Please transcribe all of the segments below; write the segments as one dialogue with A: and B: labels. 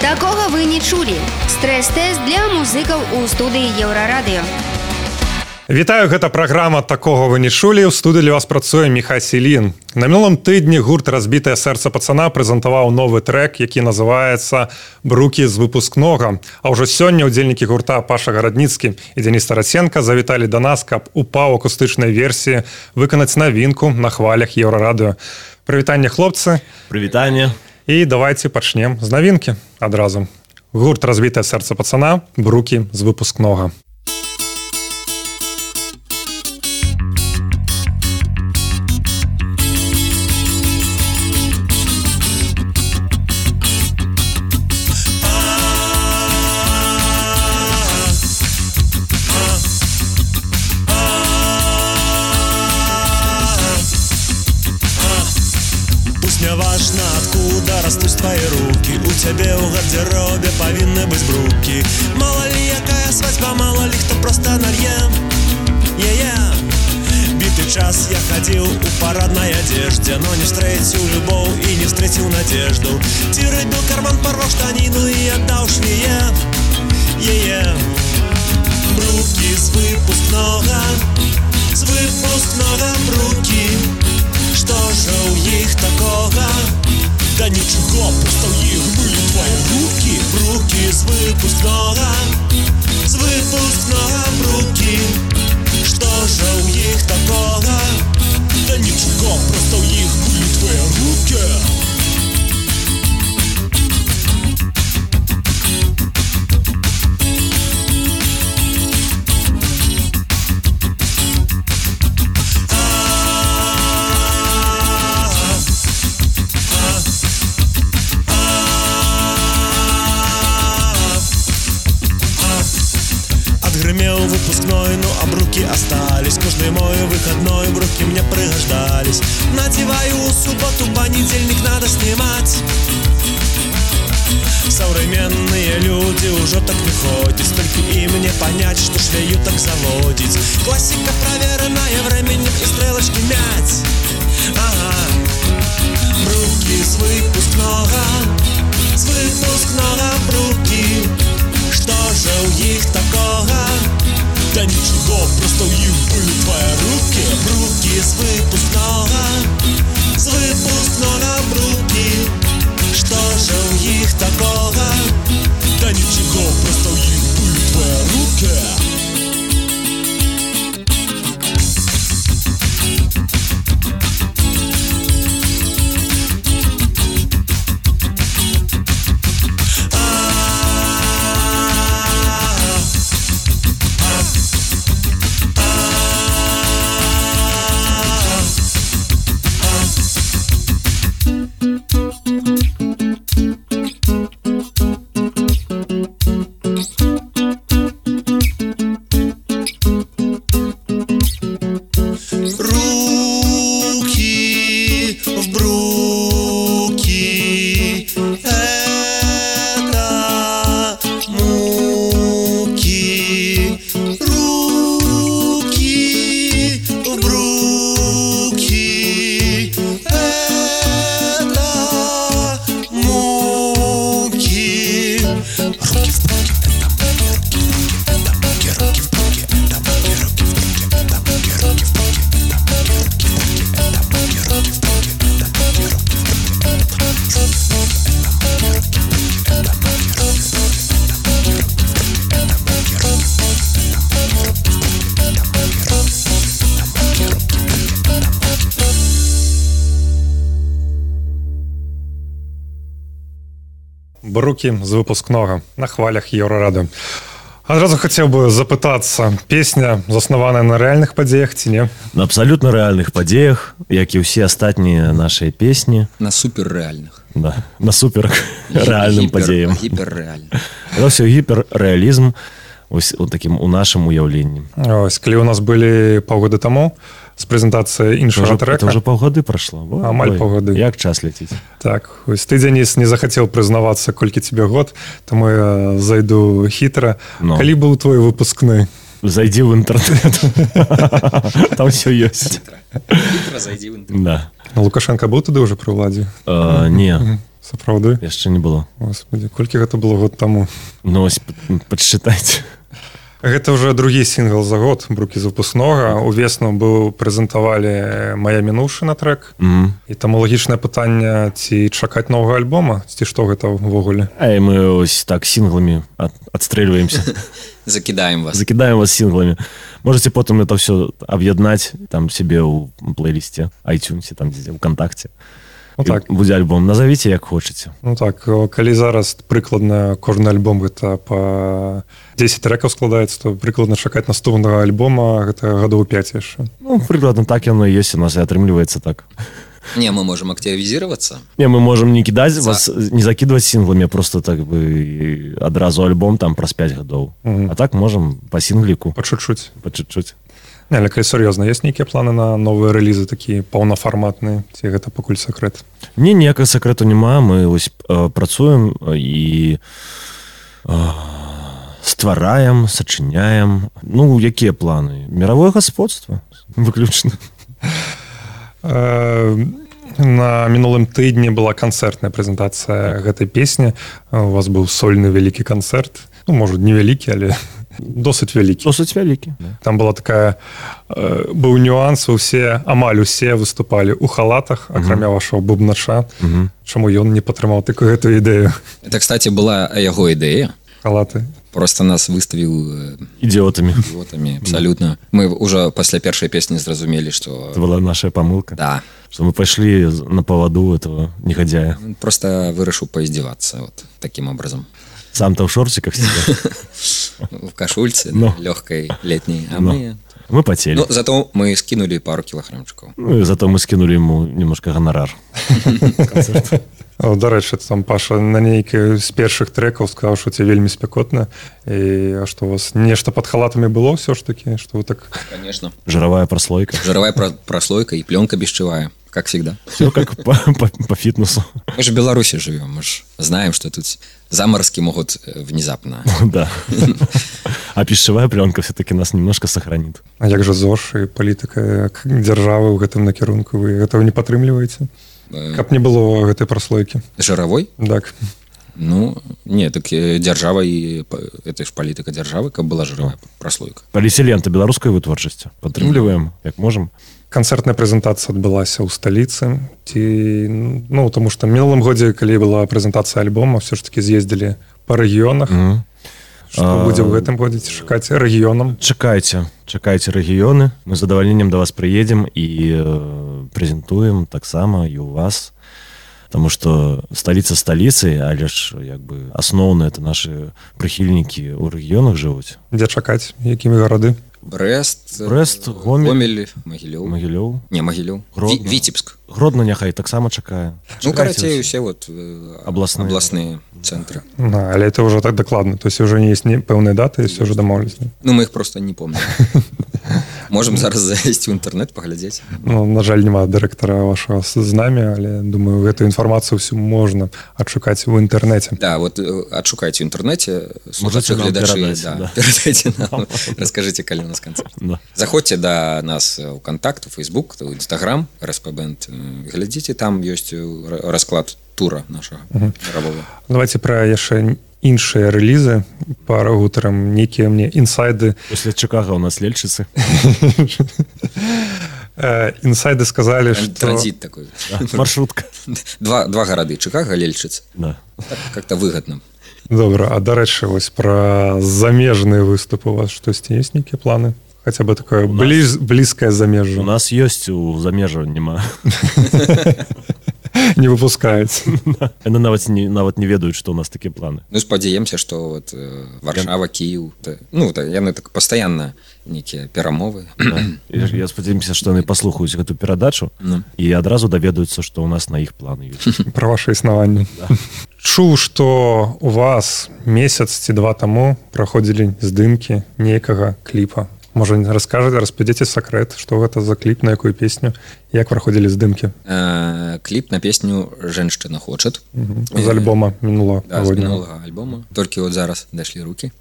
A: Такога вы не чулі. Стрэс-тэст для музыкаў у студыі еўрарадыё.
B: Вітаю гэта праграма такога вы не чулі у студы для вас працуе Міха Селін. На мінулым тыдні гурт разбітае сэрца пацана прэзентаваў новы трек, які называецца брукі з выпускнога. А ўжо сёння ўдзельнікі гурта Паша гарадніцкі і Дзеніс Тарасенко завіталі да нас, каб упаў акустычнай версіі выканаць навінку на хвалях еўрарадыё. Прывітанне хлопцы
C: Прывітанне.
B: і давайте пачнем з навінкі адразу. Гурт разбітае сэрца пацана, брукі з выпускнога.
D: Пусть не важно, откуда растут твои руки У тебя у гардеробе повинны быть бруки Мало ли якая свадьба, мало ли кто просто налье yeah Битый час я ходил у парадной одежде Но не встретил любовь и не встретил надежду Тиры бил карман, порвал штанину и отдал швее yeah Бруки с выпускного С выпускного бруки что же у них такого? Да ничего, просто у них были твои руки Руки с выпускного С выпускного руки Что же у них такого? Да ничего, просто у них были твои руки Отгремел выпускной, ну а бруки остались Кожный мой выходной, бруки мне пригождались Надеваю субботу, понедельник надо снимать Современные люди уже так не ходят Только им не понять, что швею так заводить Классика проверенная временем и стрелочки мять Ага Бруки с выпускного С выпускного бруки Что же у них такого? Да ничего, просто у них были твои руки Бруки с выпускного С выпускного бруки Что же у них такого? Да ничего, просто у них были твои руки Руки в бруки Это муки Руки в бруки Это муки Руки в бруки, это муки Руки в бруки, это муки Руки в бруки, это муки Руки в бруки, это муки Руки в бруки, это муки Руки в бруки, это муки Руки в бруки, это муки Руки в бруки, это муки Руки в бруки, это муки Руки в бруки, это муки Руки в бруки, это муки Руки в бруки, это муки Руки в бруки, это муки Руки в бруки, это муки Руки в бруки, это муки
B: брукі з выпускнога на хвалях еўрарады адразу хацеў бы запытацца песня заснаваная на рэальных падзеях ці не
C: На абсалютна рэальных падзеях, як і ўсе астатнія нашыя песні
E: на суперрэальных
C: да, на супер рэальным
E: Гіпер-
C: падзеям.
E: гіперрэальных.
C: Гэта ўсё гіперрэалізм ось у такім у нашым уяўленні.
B: ось калі у нас былі паўгода таму з прэзентацыі іншага трека
C: уже паўгады прайшло Ой,
B: Амаль
C: ой,
B: паўгады.
C: як час ляціць
B: так ось ты дзяніс не захацеў прызнавацца колькі тебе год таму я зайду хітра no.
C: Ну.
B: калі быў твой выпускны
C: зайдзі ў інтэрнэт там все ёсць
E: Зайдзі ў інтэрнэт.
C: да
B: Ну, лукашенко быў тады ўжо пры ўладзе
C: Э, не
B: сапраўды
C: яшчэ не было
B: Господи колькі гэта было год таму
C: Ну ось падсчытайце
B: Гэта ўжо другі сінгл за год брукі з выпускнога увесну быў прэзентавалі мая мінуўшына трек
C: Мгм.
B: і таму лагічнае пытанне ці чакаць новага альбома ці што гэта ўвогуле
C: А і мы ось так сінгламі ад- адстрэльваемся
E: Закидаем вас.
C: закидаем вас сінглами можете потым это все аб'яднаць там себе ў плейлісце iTunes там дзе вКтакце
B: ну, так
C: будзе альбом назовіце як хочаце
B: Ну так о, калі зараз прыкладна кожны альбом гэта па 10 трекаў складаецца то прыкладна чакаць наступнага альбома гэта гадоў 5 яшчэ
C: ну прыкладна так яно і ёсць у нас і атрымліваецца так
E: Не, мы можем активизироваться.
C: не мы можам не кідаць
E: За.
C: вас э, не закидывать сінглами а просто так бы адразу альбом там праз 5 гадоў
B: Мгм.
C: а так можам по сінгліку
B: па чуть-чуть
C: по чуть-чуть
B: Не, але калі сур'ёзна ёсць нейкія планы на новыя рэлізы такія паўнафарматныя ці гэта пакуль сакрэт
C: не ніякага сакрэту няма мы ось э, працуем э, і э, ствараем сачыняем ну якія планы мировое господство выключна
B: Э, На мінулым тыдні была канцэртная прэзентацыя гэтай песні Э, у вас быў сольны вялікі канцэрт ну, можа невялікі але досыць вялікі
C: досыць вялікі
B: там была такая э, быў нюанс усе амаль усе выступалі ў халатах акрамя вашого бубнача
C: Мгм.
B: чаму ён не падтрымаў такую гэтую ідэю
E: Это, кстати, была яго идея.
B: халаты
E: Просто нас выставил э,
C: ідзіотамі
E: идиотами абсолютно. Мы уже после первой песни зразумели,
C: это
E: что
C: была наша памылка
E: да,
C: что мы пайшлі з- на паваду этого негодяя
E: Ну просто вырышу поиздеваться вот таким образом.
C: сам там в шорціках сидел.
E: В кашульце,
C: Ну.
E: легкой летней. А
C: Ну.
E: мы...
C: мы потели
E: Ну, зато мы скинули пару килограммчиков.
C: Ну, і зато мы скинули ему немножко гонорар
B: О, дарэчы там паша на нейкі з першых трэкаў сказаў що ці вельмі спякотна і а што у вас нешта пад халатамі было ўсё ж такі што вы так
E: Конечно.
C: жировая прослойка
E: Жировая про- прослойка и пленка бесчевая, как всегда.
C: все как по, по, по фитнесу
E: Мы же в Беларуси живем, мы же знаем, что тут заморозки могут э, внезапно.
C: да а пішчавая пленка все-таки нас немножко сохранит
B: а як жа зош і палітыка к- дзяржавы ў гэтым накірунку вы гэтага не падтрымліваеце
E: Э,
B: каб не было гэтай праслойкі
E: Жировой?
B: так
E: Ну, не, так э, держава и... п- Это ж политика державы, как была жировая прослойка.
C: паліселента беларускай вытворчасці падтрымліваем як можам
B: канцэртная прэзентацыя адбылася ў сталіцы ці ну таму што мінулым годзе калі была прэзентацыя альбома все ж таки з'ездзілі па рэгіёнах
C: Мгм.
B: што
C: А-
B: будзе ў гэтым годзе ці шукаць рэгіёнам
C: чакайце чакайце рэгіёны мы з задавальненнем да вас прыедзем і э, прэзентуем таксама і у вас Таму што сталіца сталіцы але ж як бы асноўна это нашы прыхільнікі ў рэгіёнах жывуць
B: дзе чакаць якімі гарады
E: Брест, э,
C: Брест, Гомель.
E: Могилев.
C: магілёў
E: Не, Могилев.
C: Гродно.
E: Ви- Витебск.
C: гродна няхай таксама чакае
E: Ну, короче,
C: ўсё.
E: все вот э,
C: Областные.
E: областные центры.
B: На, але это ўжо так дакладна то есть уже не есть не пэўныя даты все же дамоўлена
E: Ну, мы их просто не помним. Можем зараз залезть в интернет, поглядеть.
B: ну, на жаль няма дырэктара ваша з з намі але думаю гэтую інфармацыю всю можна адшукаць у інтэрнэце
E: Да, вот э, отшукайте в интернете.
C: Можете нам
E: глядачи,
C: передать,
E: да,
C: да.
E: передайте нам. Расскажите, коли у нас концерт.
C: Да.
E: Заходзьце да нас у контакт Facebook Instagram распабент глядзіце там ёсць э, расклад тура нашага мирового.
B: давайте пра яшчэ іншыя рэлізы пара гутарам нейкія мне інсайды
C: пасля чакага у нас лельчыцы
B: Э, Инсайды сказали,
E: Там
B: что...
E: транзит такой
C: маршрутка
E: два два гарады Чикаго лельчыц
C: да.
E: Так как-то выгодно
B: Добра, а дарэчы, вось пра замежныя выступы у вас штосьці ёсць нейкія планы? Хаця бы такое
C: нас-
B: бліз, блізкае
C: у
B: замежжа
C: нас ёсць у замежа няма
B: не выпускаюць.
C: яны нават не нават не ведаюць што у нас такія планы
E: Ну спадзяемся что вот э, варшава Кіў та- ну та- яны так пастаянна нейкія перамовы
C: Ну, Я, я спадзяемся што яны паслухаюць гэту перадачу
E: Ну.
C: і адразу даведаюцца што ў нас на іх планы ёсць
B: пра ваше існаванне. Да. Чуў, што у вас месяц ці два таму праходзілі здымкі нейкага кліпа. Можа не раскажаце, распадзіце сакрэт, што гэта за кліп, на якую песню, як праходзілі здымкі
E: Э, кліп на песню женщина хочет
B: з альбома мінула
E: да, з мінулага альбома толькі от зараз дайшлі руки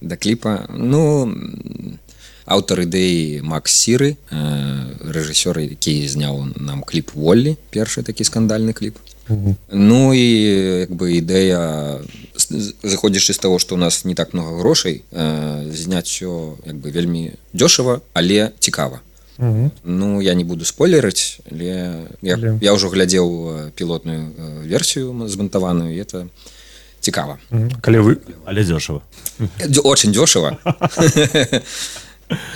E: да кліпа ну м, Аўтар ідэі Макс Э, Сіры, рэжысёр, які зняў нам кліп Воллі, першы такі скандальны кліп. Ну і як бы ідэя з- заходзячы з таго, што ў нас не так много грошай, э, зняць все як бы вельмі дзёшава, але цікава.
B: Мгм.
E: Ну я не буду спойлерыць але я,
B: Але.
E: я ўжо глядзеў э, пілотную э, версію м- збантаваную і это цікава
B: Мгм. Калі вы
C: Але дешево.
E: Дё- очень дешево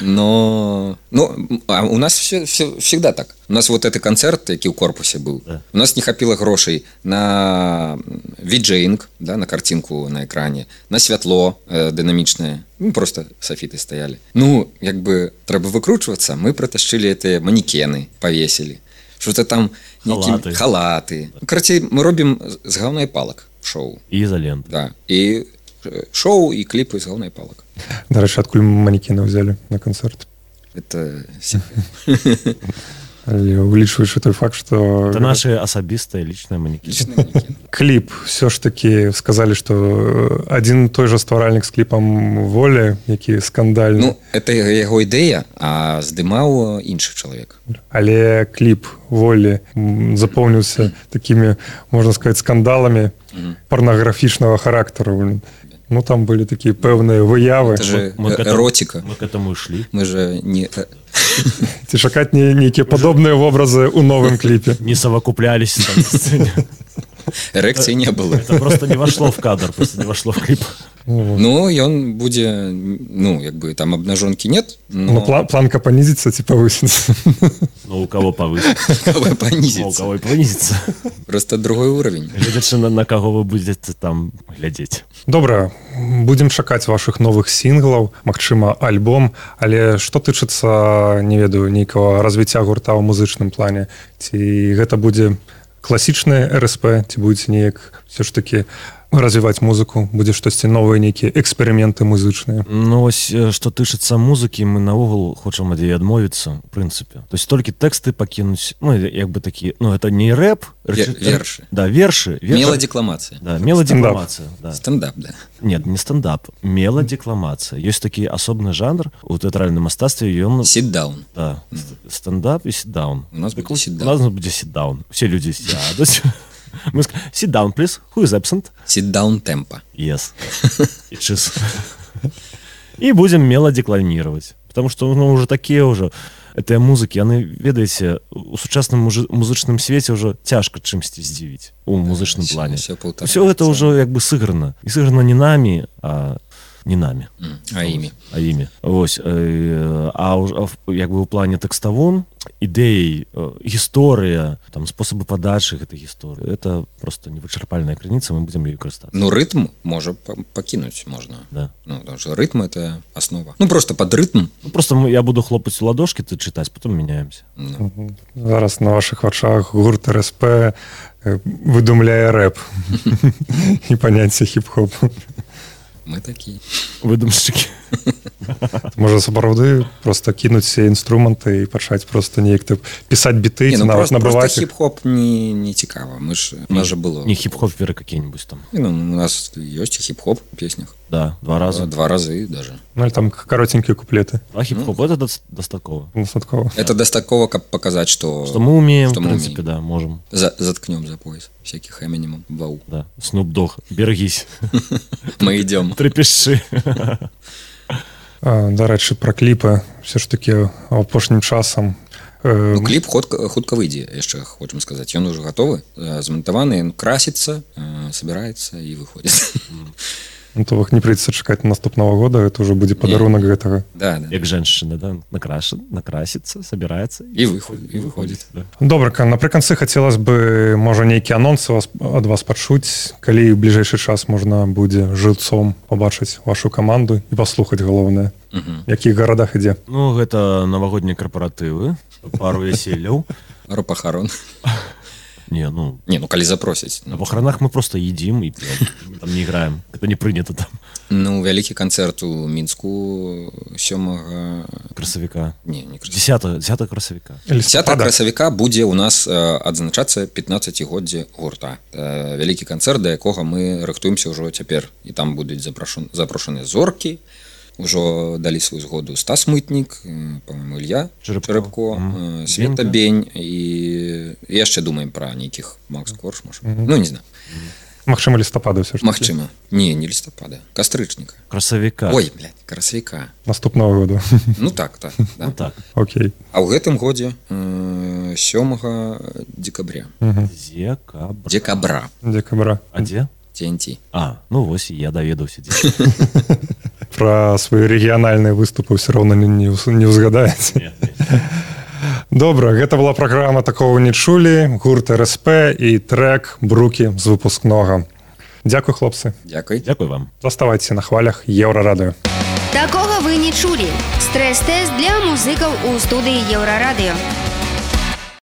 E: но ну а у нас все, все всегда так у нас вот этот концерт які ў корпусе быў
C: Да.
E: у нас не хапіла грошай на виджейнг да на картинку на экране на святло э, дынамічнае ну, просто софіты стаялі ну як бы трэба выкручвацца мы протащили это манекены повесили что-то там
C: Халаты.
E: халаты, халаты. карацей мы робім з гаўнай палак шоу
C: И изолента.
E: да і э, шоу і кліпы з гаўнай палак
B: дарэчы адкуль манекены ўзялі на канцэрт
E: это секрет.
B: але ўлічваючы той факт што
C: Это наши асабістыя личные манекі.
E: Лічны манекен.
B: кліп все ж таки сказалі что адзін той же стваральнік з кліпам волі які скандальны
E: ну это яго ідэя а здымаў э, іншы чалавек
B: але кліп волі м, запоўніўся такими можна сказать скандаламі порнаграфічнага характару ну там былі такія пэўныя выявы
E: Это же
C: мы к этому-
E: эротика
C: Мы к этому и шли.
E: мы же не э,
B: ці шакаць не нейкія падобныя вобразы ў новым кліпе
C: Не совокуплялись там на сцене.
E: эрекцыі не было
C: Это просто не вошло в кадр, просто не вошло в клип.
E: ну ён будзе ну як бы там обнажонкі нет
B: ну
E: но
B: пла- планка панізіцца ці павысіцца
C: Но Ну, у кого повысится,
E: кавы
C: а у
E: панізіцца
C: кого и понизится.
E: просто другой уровень
C: Глядячи на, на кого вы будете там глядеть.
B: добра будзем чакаць вашых новых сінглаў Мачыма альбом але што тычыцца не ведаю нейкага развіцця гурта ў музычным плане ці гэта будзе класічная рсп ці будзе неяк все ж таки развіваць музыку будзе штосьці новыя нейкія эксперыменты музычныя
C: Ну вось э, што тычыцца музыкі мы наогул хочам ад яе адмовіцца у прынцыпе то есть толькі тэксты пакінуць ну як бы такі ну это не рэп
E: Вер-
C: рэч-
E: вершы.
C: да вершы вер-
E: меладзекламацыя
C: так- да, меладзекламацыя да.
E: стендап да
C: нет не стендап меладзекламацыя ёсць такі асобны жанр у тэатральным мастацтве ён
E: сиддаун
C: да, ст- стендап і седаун
E: у нас быў
C: Так у нас будзе седаун все людзі сядуць мы седаун плюс хуй absent
E: сиддаун темпа
C: Yes. И чис. И будем мело декламировать. Потому что ну, уже такие уже этой музыкі яны ведаеце у сучасным мужы- музычным свеце ўжо цяжка чымсьці здзівіць у музычным плане
E: все полтора
C: все гэта ўжо як бы сыграна і сыграна не намі а не намі
E: М, а імі
C: а імі Вось э, а ўж- а в- як бы у плане тэкставом ідэй э, гісторыя там спосабы падачы гэтай гісторыі это просто невычарпальная крыніца мы будзем ёй карыстацца
E: ну рытм можа па- пакінуць можна
C: да.
E: Ну, потому что ритм это основа. Ну, просто под ритм.
C: Ну, просто мы, я буду хлопать в ладошки, ты читать, потом меняемся.
E: Ну,
B: зараз на ваших вачах гурт рсп э, выдумляе рэп і паняцце хіп-хоп
E: мы такие.
C: Выдумщики.
B: можа сапраўды просто кінуць все інструменты і пачаць просто неяк так пісаць біты
E: Не,
B: ці
E: ну,
B: нават
E: просто, просто
B: набываць іх.
E: хип-хоп не, не цікаво. Мы ж, у нас же было...
C: Не хип-хоперы какие-нибудь там.
E: Не, Ну, у нас есть и хип-хоп в песнях. Э,
C: Да, два раза.
E: Два раза и даже.
B: Ну, или там каротенькія куплеты Ну,
C: Два хип-хоп, это дос- достатково.
B: Садкова.
E: Это до такого, как показать, что,
C: Что мы умеем,
E: Что
C: в
E: мы
C: принципе,
E: умеем.
C: да, можем.
E: За, заткнем за пояс всяких Эминемом. Вау.
C: Да. Снуп Дог, берегись,
E: Мы идем.
C: трепещи.
B: А, Дарэчы пра кліпы все ж таки апошнім часам э,
E: Ну, кліп хутка, хутка выйдзе яшчэ хочам сказаць ён ужо гатовы э, змантаваны ён красіцца э, собираецца і выходзіць
B: ну, то бок не прыйдзецца чакаць наступного года это уже будзе падарунак гэтага
E: да, да.
C: Как женщина, да, накрашен, накрасится, собирается.
E: і выходзіць і выходзіць
C: Да.
B: добрака напрыканцы хацелось бы можа нейкі анонс вас ад вас пачуць калі ў бліжэйшы час можна будзе жыўцом пабачыць вашу каманду і паслухаць галоўнае
E: Мгм.
B: якіх гарадах ідзе
C: Ну, это новогодние корпоративы, пару веселил.
E: Ро пахарон
C: Не, ну,
E: не ну калі запросяць
C: на похоронах мы просто едим и пьем. Мы там не играем. Это не принято там.
E: Ну вялікі канцэрт у мінску сёмага
C: Красовика.
E: не, не красавіка.
C: 10, 10 красовика.
E: 10
B: Лістапада.
E: красавіка будзе ў нас э, адзначацца 15годдзе гурта э, вялікі канцэрт да якога мы рыхтуемся ўжо цяпер і там будуць запрашан запрошаны зоркі Ужо далі сваю згоду Стас мытнік по-моему Ілья
C: Черепко.
E: Черепко
C: Мгм.
E: э, Света Бень і яшчэ думаем пра нейкіх Макс Корж можа. Ну не знаю
B: Магчыма лістапада ўсё ж такі.
E: Магчыма не не лістапада кастрычніка
C: красавіка
E: Ой красавіка
B: наступного году
E: Ну так так да.
C: Ну так
B: Окей
E: А ў гэтым годзе э, 7 декабря
C: Ну. декабрь
E: декабра
B: декабра
C: а дзе
E: TNT
C: а ну вось і я даведаўся дзе
B: про свае рэгіянальныя выступы ўсё роўна не, не, ўс- не ўзгадаеце
C: Не, не.
B: добра гэта была праграма такого не чулі гурт рсп і трек брукі з выпускнога Дякую хлопцы
E: Дякай
C: Дзякуй вам
B: заставайце на хвалях еўрарадыё
A: Такога вы не чулі. Стрэс-тэст для музыкаў у студыі Еўрарадыё.